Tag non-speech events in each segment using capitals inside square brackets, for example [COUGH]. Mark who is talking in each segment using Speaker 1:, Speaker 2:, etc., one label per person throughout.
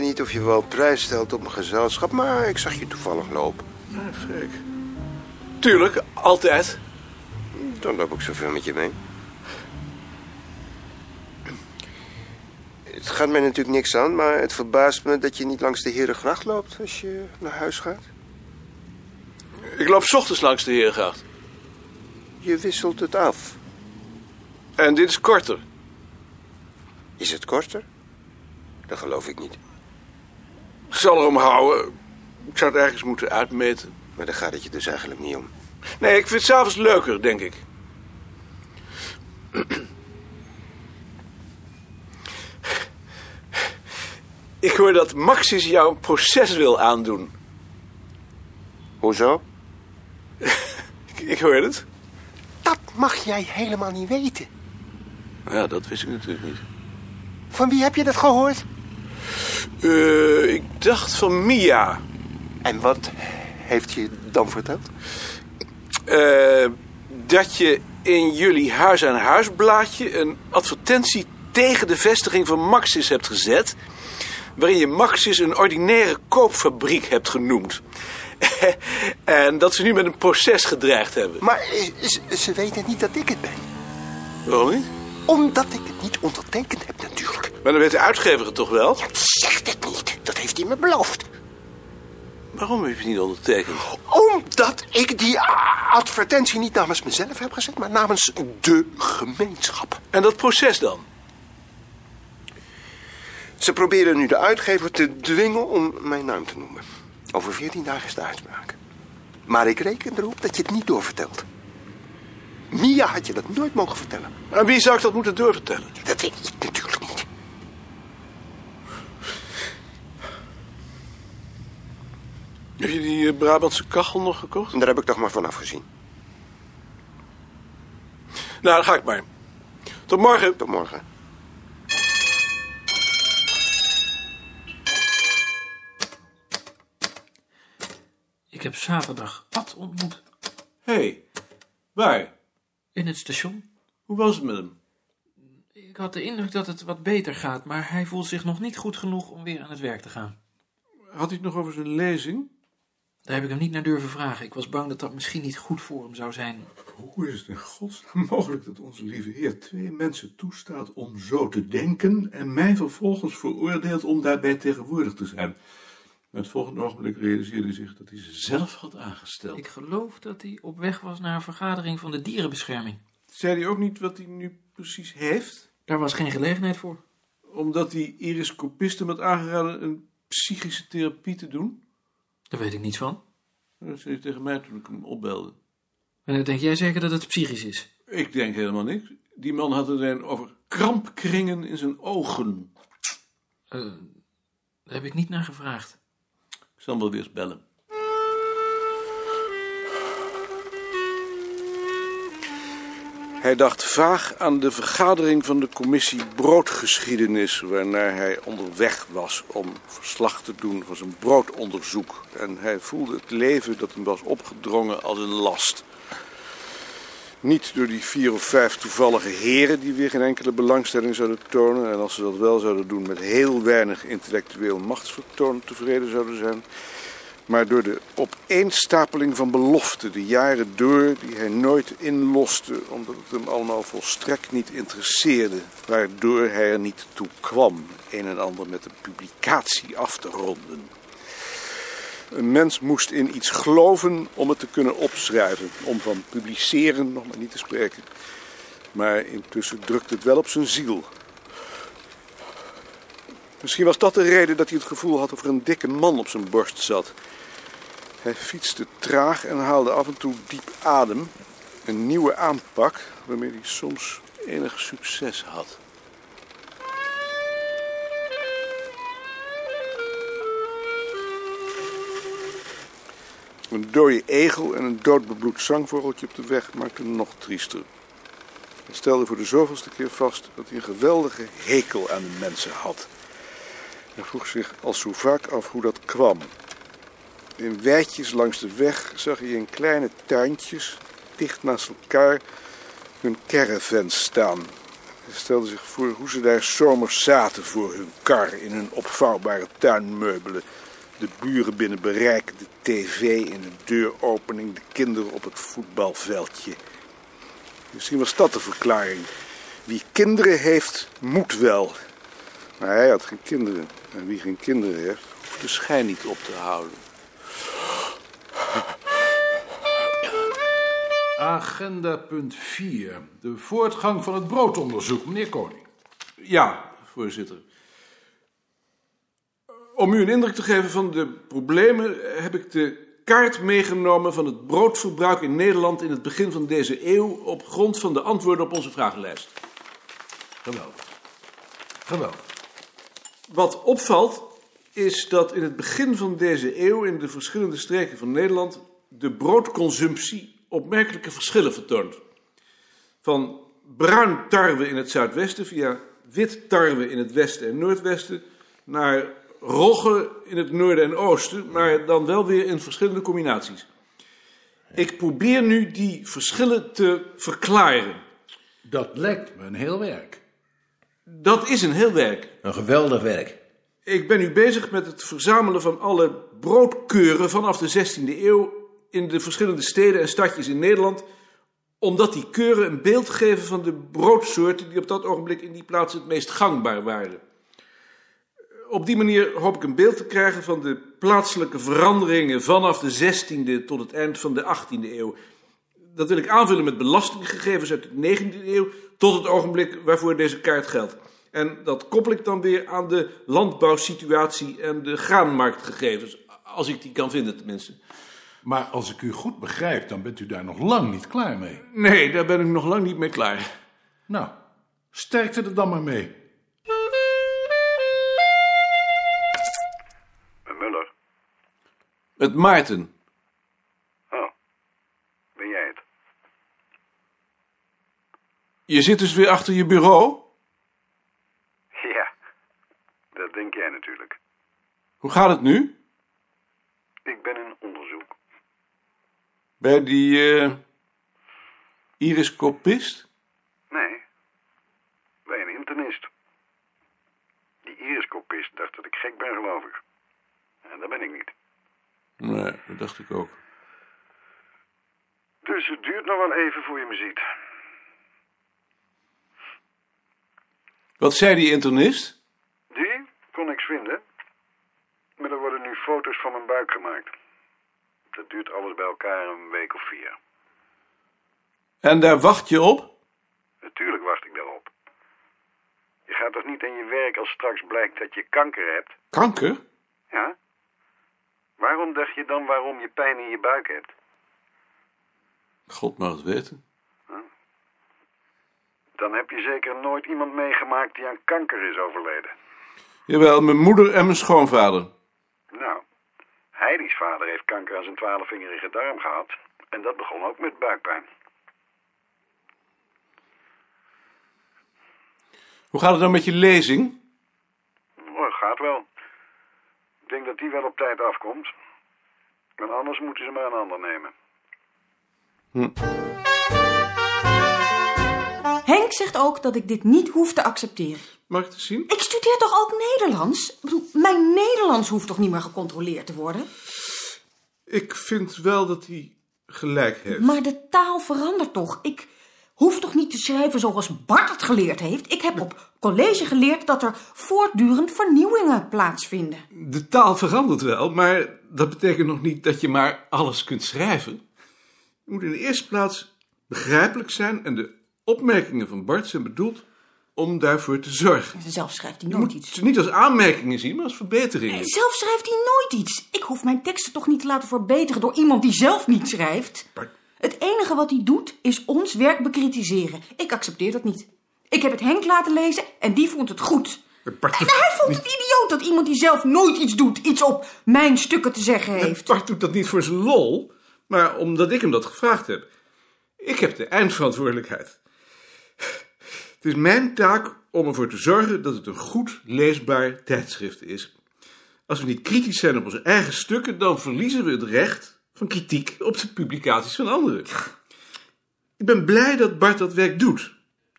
Speaker 1: niet of je wel prijs stelt op een gezelschap, maar ik zag je toevallig lopen.
Speaker 2: Ja, Ah, Freek. Tuurlijk, altijd.
Speaker 1: Dan loop ik zoveel met je mee. Het gaat mij natuurlijk niks aan, maar het verbaast me dat je niet langs de Herengracht loopt als je naar huis gaat.
Speaker 2: Ik loop 's ochtends langs de Herengracht.
Speaker 1: Je wisselt het af.
Speaker 2: En dit is korter.
Speaker 1: Is het korter? Dat geloof ik niet.
Speaker 2: Ik zal erom houden. Ik zou het ergens moeten uitmeten.
Speaker 1: Maar daar gaat het je dus eigenlijk niet om.
Speaker 2: Nee, ik vind het s'avonds leuker, denk ik. Ik hoor dat Maxis jou een proces wil aandoen.
Speaker 1: Hoezo?
Speaker 2: Ik, ik hoor het.
Speaker 1: Dat mag jij helemaal niet weten.
Speaker 2: Ja, dat wist ik natuurlijk niet.
Speaker 1: Van wie heb je dat gehoord?
Speaker 2: Eh, ik dacht van Mia.
Speaker 1: En wat heeft je dan verteld?
Speaker 2: Eh, dat je in jullie huis aan huis blaadje een advertentie tegen de vestiging van Maxis hebt gezet. Waarin je Maxis een ordinaire koopfabriek hebt genoemd. [LAUGHS] en dat ze nu met een proces gedreigd hebben.
Speaker 1: Maar ze, ze weten niet dat ik het ben.
Speaker 2: Waarom niet?
Speaker 1: Omdat ik het niet ondertekend heb natuurlijk.
Speaker 2: Maar dan weet de uitgever het toch wel?
Speaker 1: Zegt het niet. Dat heeft hij me beloofd.
Speaker 2: Waarom heb je het niet ondertekend?
Speaker 1: Omdat ik die a- advertentie niet namens mezelf heb gezet, maar namens de gemeenschap.
Speaker 2: En dat proces dan?
Speaker 1: Ze proberen nu de uitgever te dwingen om mijn naam te noemen. Over veertien dagen is de uitspraak. Maar ik reken erop dat je het niet doorvertelt. Mia had je dat nooit mogen vertellen.
Speaker 2: Aan wie zou ik dat moeten doorvertellen?
Speaker 1: Dat weet ik natuurlijk niet.
Speaker 2: Heb je die eh, Brabantse kachel nog gekocht?
Speaker 1: En daar heb ik toch maar van afgezien.
Speaker 2: Nou, dan ga ik maar. Tot morgen.
Speaker 1: Tot morgen.
Speaker 3: Ik heb zaterdag Ad ontmoet
Speaker 2: Hé, hey, waar?
Speaker 3: in het station.
Speaker 2: Hoe was het met hem?
Speaker 3: Ik had de indruk dat het wat beter gaat, maar hij voelt zich nog niet goed genoeg om weer aan het werk te gaan.
Speaker 2: Had hij het nog over zijn lezing?
Speaker 3: Daar heb ik hem niet naar durven vragen. Ik was bang dat dat misschien niet goed voor hem zou zijn.
Speaker 4: Hoe is het in godsnaam mogelijk dat onze lieve Heer twee mensen toestaat om zo te denken en mij vervolgens veroordeelt om daarbij tegenwoordig te zijn? Het volgende ogenblik realiseerde hij zich dat hij ze zelf had aangesteld.
Speaker 3: Ik geloof dat hij op weg was naar een vergadering van de dierenbescherming.
Speaker 2: Zei hij ook niet wat hij nu precies heeft?
Speaker 3: Daar was geen gelegenheid voor.
Speaker 2: Omdat hij Iris Kopist hem had aangeraden een psychische therapie te doen?
Speaker 3: Daar weet ik niets van.
Speaker 2: Dat zei hij tegen mij toen ik hem opbelde.
Speaker 3: En dan denk jij zeker dat het psychisch is.
Speaker 2: Ik denk helemaal niks. Die man had het een over krampkringen in zijn ogen.
Speaker 3: Eh, daar heb ik niet naar gevraagd.
Speaker 2: Ik zal hem wel weer eens bellen. Hij dacht vaag aan de vergadering van de commissie broodgeschiedenis, waarnaar hij onderweg was om verslag te doen van zijn broodonderzoek. En hij voelde het leven dat hem was opgedrongen als een last. Niet door die vier of vijf toevallige heren die weer geen enkele belangstelling zouden tonen. En als ze dat wel zouden doen, met heel weinig intellectueel machtsvertoon tevreden zouden zijn. Maar door de opeenstapeling van beloften de jaren door die hij nooit inloste. Omdat het hem allemaal volstrekt niet interesseerde. Waardoor hij er niet toe kwam een en ander met een publicatie af te ronden. Een mens moest in iets geloven om het te kunnen opschrijven. Om van publiceren nog maar niet te spreken. Maar intussen drukt het wel op zijn ziel. Misschien was dat de reden dat hij het gevoel had of er een dikke man op zijn borst zat. Hij fietste traag en haalde af en toe diep adem. Een nieuwe aanpak waarmee hij soms enig succes had. Een dode egel en een doodbebloed zangvogeltje op de weg maakten hem nog triester. Hij stelde voor de zoveelste keer vast dat hij een geweldige hekel aan de mensen had. Hij vroeg zich al zo vaak af hoe dat kwam. In wijtjes langs de weg zag hij in kleine tuintjes, dicht naast elkaar, hun caravans staan.
Speaker 5: Ze stelden zich voor hoe ze daar zomers zaten voor hun kar in hun opvouwbare tuinmeubelen. De buren binnen bereik, de tv in de deuropening, de kinderen op het voetbalveldje. Misschien was dat de verklaring. Wie kinderen heeft, moet wel. Maar hij had geen kinderen. En wie geen kinderen heeft, hoeft de schijn niet op te houden.
Speaker 6: Agenda punt 4. De voortgang van het broodonderzoek, meneer Koning.
Speaker 5: Ja, voorzitter. Om u een indruk te geven van de problemen heb ik de kaart meegenomen van het broodverbruik in Nederland in het begin van deze eeuw op grond van de antwoorden op onze vragenlijst.
Speaker 6: Geweldig. Geweldig.
Speaker 5: Wat opvalt is dat in het begin van deze eeuw in de verschillende streken van Nederland de broodconsumptie opmerkelijke verschillen vertoont. Van bruin tarwe in het zuidwesten via wit tarwe in het westen en noordwesten naar rogge in het noorden en oosten, maar dan wel weer in verschillende combinaties. Ik probeer nu die verschillen te verklaren.
Speaker 6: Dat lijkt me een heel werk.
Speaker 5: Dat is een heel werk.
Speaker 7: Een geweldig werk.
Speaker 5: Ik ben nu bezig met het verzamelen van alle broodkeuren vanaf de 16e eeuw in de verschillende steden en stadjes in Nederland, omdat die keuren een beeld geven van de broodsoorten die op dat ogenblik in die plaatsen het meest gangbaar waren. Op die manier hoop ik een beeld te krijgen van de plaatselijke veranderingen vanaf de 16e tot het eind van de 18e eeuw. Dat wil ik aanvullen met belastinggegevens uit de 19e eeuw tot het ogenblik waarvoor deze kaart geldt. En dat koppel ik dan weer aan de landbouwsituatie en de graanmarktgegevens, als ik die kan vinden tenminste.
Speaker 6: Maar als ik u goed begrijp, dan bent u daar nog lang niet klaar mee.
Speaker 5: Nee, daar ben ik nog lang niet mee klaar.
Speaker 6: Nou, sterkte er dan maar mee.
Speaker 8: Met Muller?
Speaker 5: Met Maarten.
Speaker 8: Oh, ben jij het?
Speaker 5: Je zit dus weer achter je bureau?
Speaker 8: Ja, dat denk jij natuurlijk.
Speaker 5: Hoe gaat het nu?
Speaker 8: Ik ben in onderzoek.
Speaker 5: Bij die eh Iris Kopist?
Speaker 8: Nee, bij een internist. Die iriskopist dacht dat ik gek ben, geloof ik. En dat ben ik niet.
Speaker 5: Nee, dat dacht ik ook.
Speaker 8: Dus het duurt nog wel even voor je me ziet.
Speaker 5: Wat zei die internist?
Speaker 8: Die kon niks vinden. Maar er worden nu foto's van mijn buik gemaakt. Dat duurt alles bij elkaar een week of vier.
Speaker 5: En daar wacht je op?
Speaker 8: Natuurlijk wacht ik daarop. Je gaat toch niet aan je werk als straks blijkt dat je kanker hebt?
Speaker 5: Kanker?
Speaker 8: Ja. Waarom dacht je dan waarom je pijn in je buik hebt?
Speaker 5: God mag het weten.
Speaker 8: Dan heb je zeker nooit iemand meegemaakt die aan kanker is overleden.
Speaker 5: Jawel, mijn moeder en mijn schoonvader.
Speaker 8: Nou, Heidi's vader heeft kanker aan zijn twaalfvingerige darm gehad. En dat begon ook met buikpijn.
Speaker 5: Hoe gaat het dan met je lezing?
Speaker 8: Oh, gaat wel. Ik denk dat die wel op tijd afkomt. En anders moeten ze maar een ander nemen.
Speaker 9: Henk zegt ook dat ik dit niet hoef te accepteren.
Speaker 5: Mag ik het zien?
Speaker 9: Ik studeer toch ook Nederlands? Ik bedoel, mijn Nederlands hoeft toch niet meer gecontroleerd te worden?
Speaker 5: Ik vind wel dat hij gelijk heeft.
Speaker 9: Maar de taal verandert toch? Ik hoef toch niet te schrijven zoals Bart het geleerd heeft? Ik heb op college geleerd dat er voortdurend vernieuwingen plaatsvinden.
Speaker 5: De taal verandert wel, maar dat betekent nog niet dat je maar alles kunt schrijven. Je moet in de eerste plaats begrijpelijk zijn en de opmerkingen van Bart zijn bedoeld om daarvoor te zorgen.
Speaker 9: Zelf schrijft hij
Speaker 5: Je
Speaker 9: nooit
Speaker 5: moet
Speaker 9: iets.
Speaker 5: ze niet als aanmerkingen zien, maar als verbeteringen.
Speaker 9: Zelf schrijft hij nooit iets. Ik hoef mijn teksten toch niet te laten verbeteren door iemand die zelf niet schrijft.
Speaker 5: Maar-
Speaker 9: Het enige wat hij doet is ons werk bekritiseren. Ik accepteer dat niet. Ik heb het Henk laten lezen en die vond het goed.
Speaker 5: Bart,
Speaker 9: En hij vond het idioot dat iemand die zelf nooit iets doet, iets op mijn stukken te zeggen heeft.
Speaker 5: Bart doet dat niet voor zijn lol, maar omdat ik hem dat gevraagd heb. Ik heb de eindverantwoordelijkheid. Het is mijn taak om ervoor te zorgen dat het een goed leesbaar tijdschrift is. Als we niet kritisch zijn op onze eigen stukken, dan verliezen we het recht van kritiek op de publicaties van anderen. Ik ben blij dat Bart dat werk doet.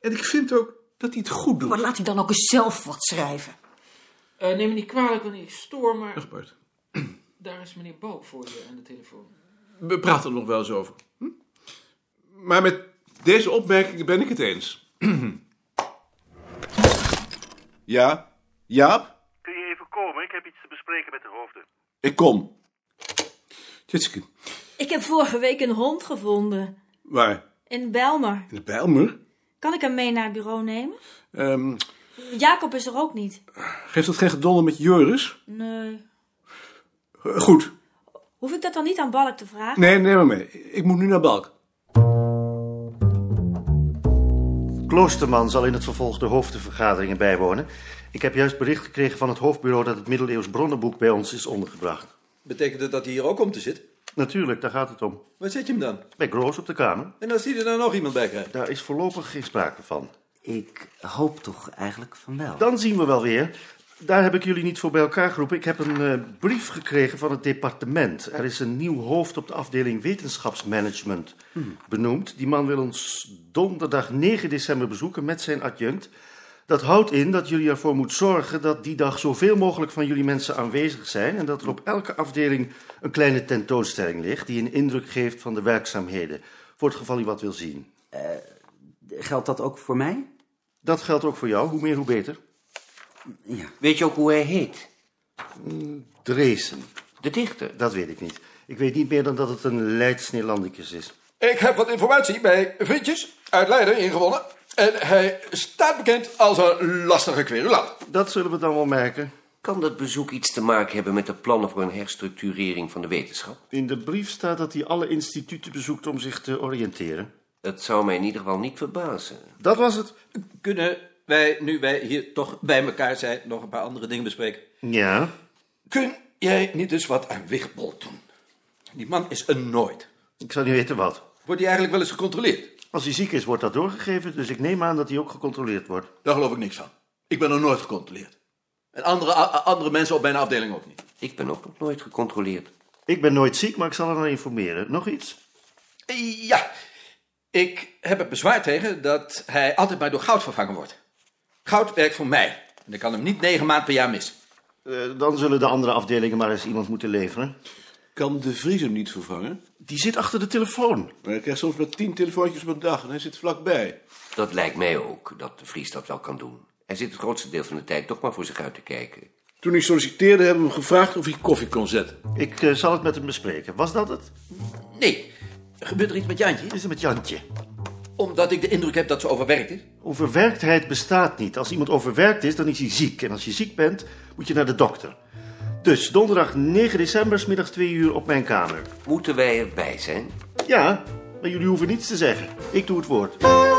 Speaker 5: En ik vind ook
Speaker 2: dat hij het goed doet.
Speaker 10: Maar laat hij dan ook eens zelf wat schrijven.
Speaker 3: Eh, neem me niet kwalijk wanneer ik stoor, maar
Speaker 2: Dag Bart,
Speaker 3: [CLEARS THROAT] daar is meneer Balk voor je aan de telefoon.
Speaker 2: we praten er nog wel eens over. Hm? Maar met deze opmerkingen ben ik het eens. ja? Jaap?
Speaker 6: Kun je even komen? Ik heb iets te bespreken met de hoofden.
Speaker 2: Ik kom. Tjitske,
Speaker 9: Ik heb vorige week een hond gevonden.
Speaker 2: waar?
Speaker 9: In Belmer.
Speaker 2: In de Bijlmer?
Speaker 9: Kan ik hem mee naar het bureau nemen?
Speaker 2: Ehm,
Speaker 9: Jacob is er ook niet.
Speaker 2: geeft dat geen gedonder met Joris?
Speaker 9: Nee.
Speaker 2: Eh, goed.
Speaker 9: Hoef ik dat dan niet aan Balk te vragen?
Speaker 2: Nee, neem maar mee. Ik moet nu naar Balk.
Speaker 6: Kloosterman zal in het vervolg de hoofdenvergaderingen bijwonen. Ik heb juist bericht gekregen van het hoofdbureau dat het middeleeuws bronnenboek bij ons is ondergebracht.
Speaker 5: Betekent dat dat hij hier ook om te zitten?
Speaker 6: Natuurlijk, daar gaat het om.
Speaker 5: Waar zet je hem dan?
Speaker 6: Bij Groos op de Kamer.
Speaker 5: En als hij er nou nog iemand bij krijgt?
Speaker 6: Daar is voorlopig geen sprake van.
Speaker 11: Ik hoop toch eigenlijk van wel.
Speaker 6: Dan zien we wel weer. Daar heb ik jullie niet voor bij elkaar geroepen. Ik heb een eh, brief gekregen van het departement. Er is een nieuw hoofd op de afdeling wetenschapsmanagement
Speaker 11: Hmm.
Speaker 6: benoemd. Die man wil ons donderdag 9 december bezoeken met zijn adjunct. Dat houdt in dat jullie ervoor moeten zorgen dat die dag zoveel mogelijk van jullie mensen aanwezig zijn. En dat er op elke afdeling een kleine tentoonstelling ligt die een indruk geeft van de werkzaamheden. Voor het geval u wat wil zien.
Speaker 11: Geldt dat ook voor mij?
Speaker 6: Dat geldt ook voor jou. Hoe meer, hoe beter.
Speaker 11: Ja. Weet je ook hoe hij heet?
Speaker 6: Mm, Dreesen.
Speaker 11: De dichter.
Speaker 6: Dat weet ik niet. Ik weet niet meer dan dat het een Leids Nederlandicus is.
Speaker 5: Ik heb wat informatie bij Vintjes uit Leiden ingewonnen. En hij staat bekend als een lastige querulant.
Speaker 6: Dat zullen we dan wel merken.
Speaker 11: Kan dat bezoek iets te maken hebben met de plannen voor een herstructurering van de wetenschap?
Speaker 6: In de brief staat dat hij alle instituten bezoekt om zich te oriënteren.
Speaker 11: Dat zou mij in ieder geval niet verbazen.
Speaker 6: Dat was het.
Speaker 5: Kunnen wij, nu wij hier toch bij elkaar zijn, nog een paar andere dingen bespreken?
Speaker 6: Ja.
Speaker 5: Kun jij niet eens wat aan Wichtbold doen? Die man is een nooit.
Speaker 6: Ik zou niet weten wat.
Speaker 5: Wordt hij eigenlijk wel eens gecontroleerd?
Speaker 6: Als hij ziek is, wordt dat doorgegeven, dus ik neem aan dat hij ook gecontroleerd wordt.
Speaker 5: Daar geloof ik niks van. Ik ben nog nooit gecontroleerd. En andere, a- a- andere mensen op mijn afdeling ook niet.
Speaker 11: Ik ben ook nog nooit gecontroleerd.
Speaker 6: Ik ben nooit ziek, maar ik zal er dan informeren. Nog iets?
Speaker 5: Ja, ik heb het bezwaar tegen dat hij altijd maar door goud vervangen wordt. Goud werkt voor mij. En ik kan hem niet negen maanden per jaar missen.
Speaker 6: Eh, dan zullen de andere afdelingen maar eens iemand moeten leveren.
Speaker 2: Kan de Vries hem niet vervangen?
Speaker 6: Die zit achter de telefoon.
Speaker 2: Maar hij krijgt soms maar tien telefoontjes per dag en hij zit vlakbij.
Speaker 11: Dat lijkt mij ook, dat de Vries dat wel kan doen. Hij zit het grootste deel van de tijd toch maar voor zich uit te kijken.
Speaker 2: Toen ik solliciteerde, hebben we hem gevraagd of hij koffie kon zetten.
Speaker 6: Ik eh, zal het met hem bespreken. Was dat het?
Speaker 5: Nee, gebeurt er iets met Jantje?
Speaker 6: Is het met Jantje?
Speaker 5: Omdat ik de indruk heb dat ze overwerkt is.
Speaker 6: Overwerktheid bestaat niet. Als iemand overwerkt is, dan is hij ziek. En als je ziek bent, moet je naar de dokter. Dus donderdag 9 december, 's middags 2 uur op mijn kamer.
Speaker 11: Moeten wij erbij zijn?
Speaker 6: Ja, maar jullie hoeven niets te zeggen. Ik doe het woord.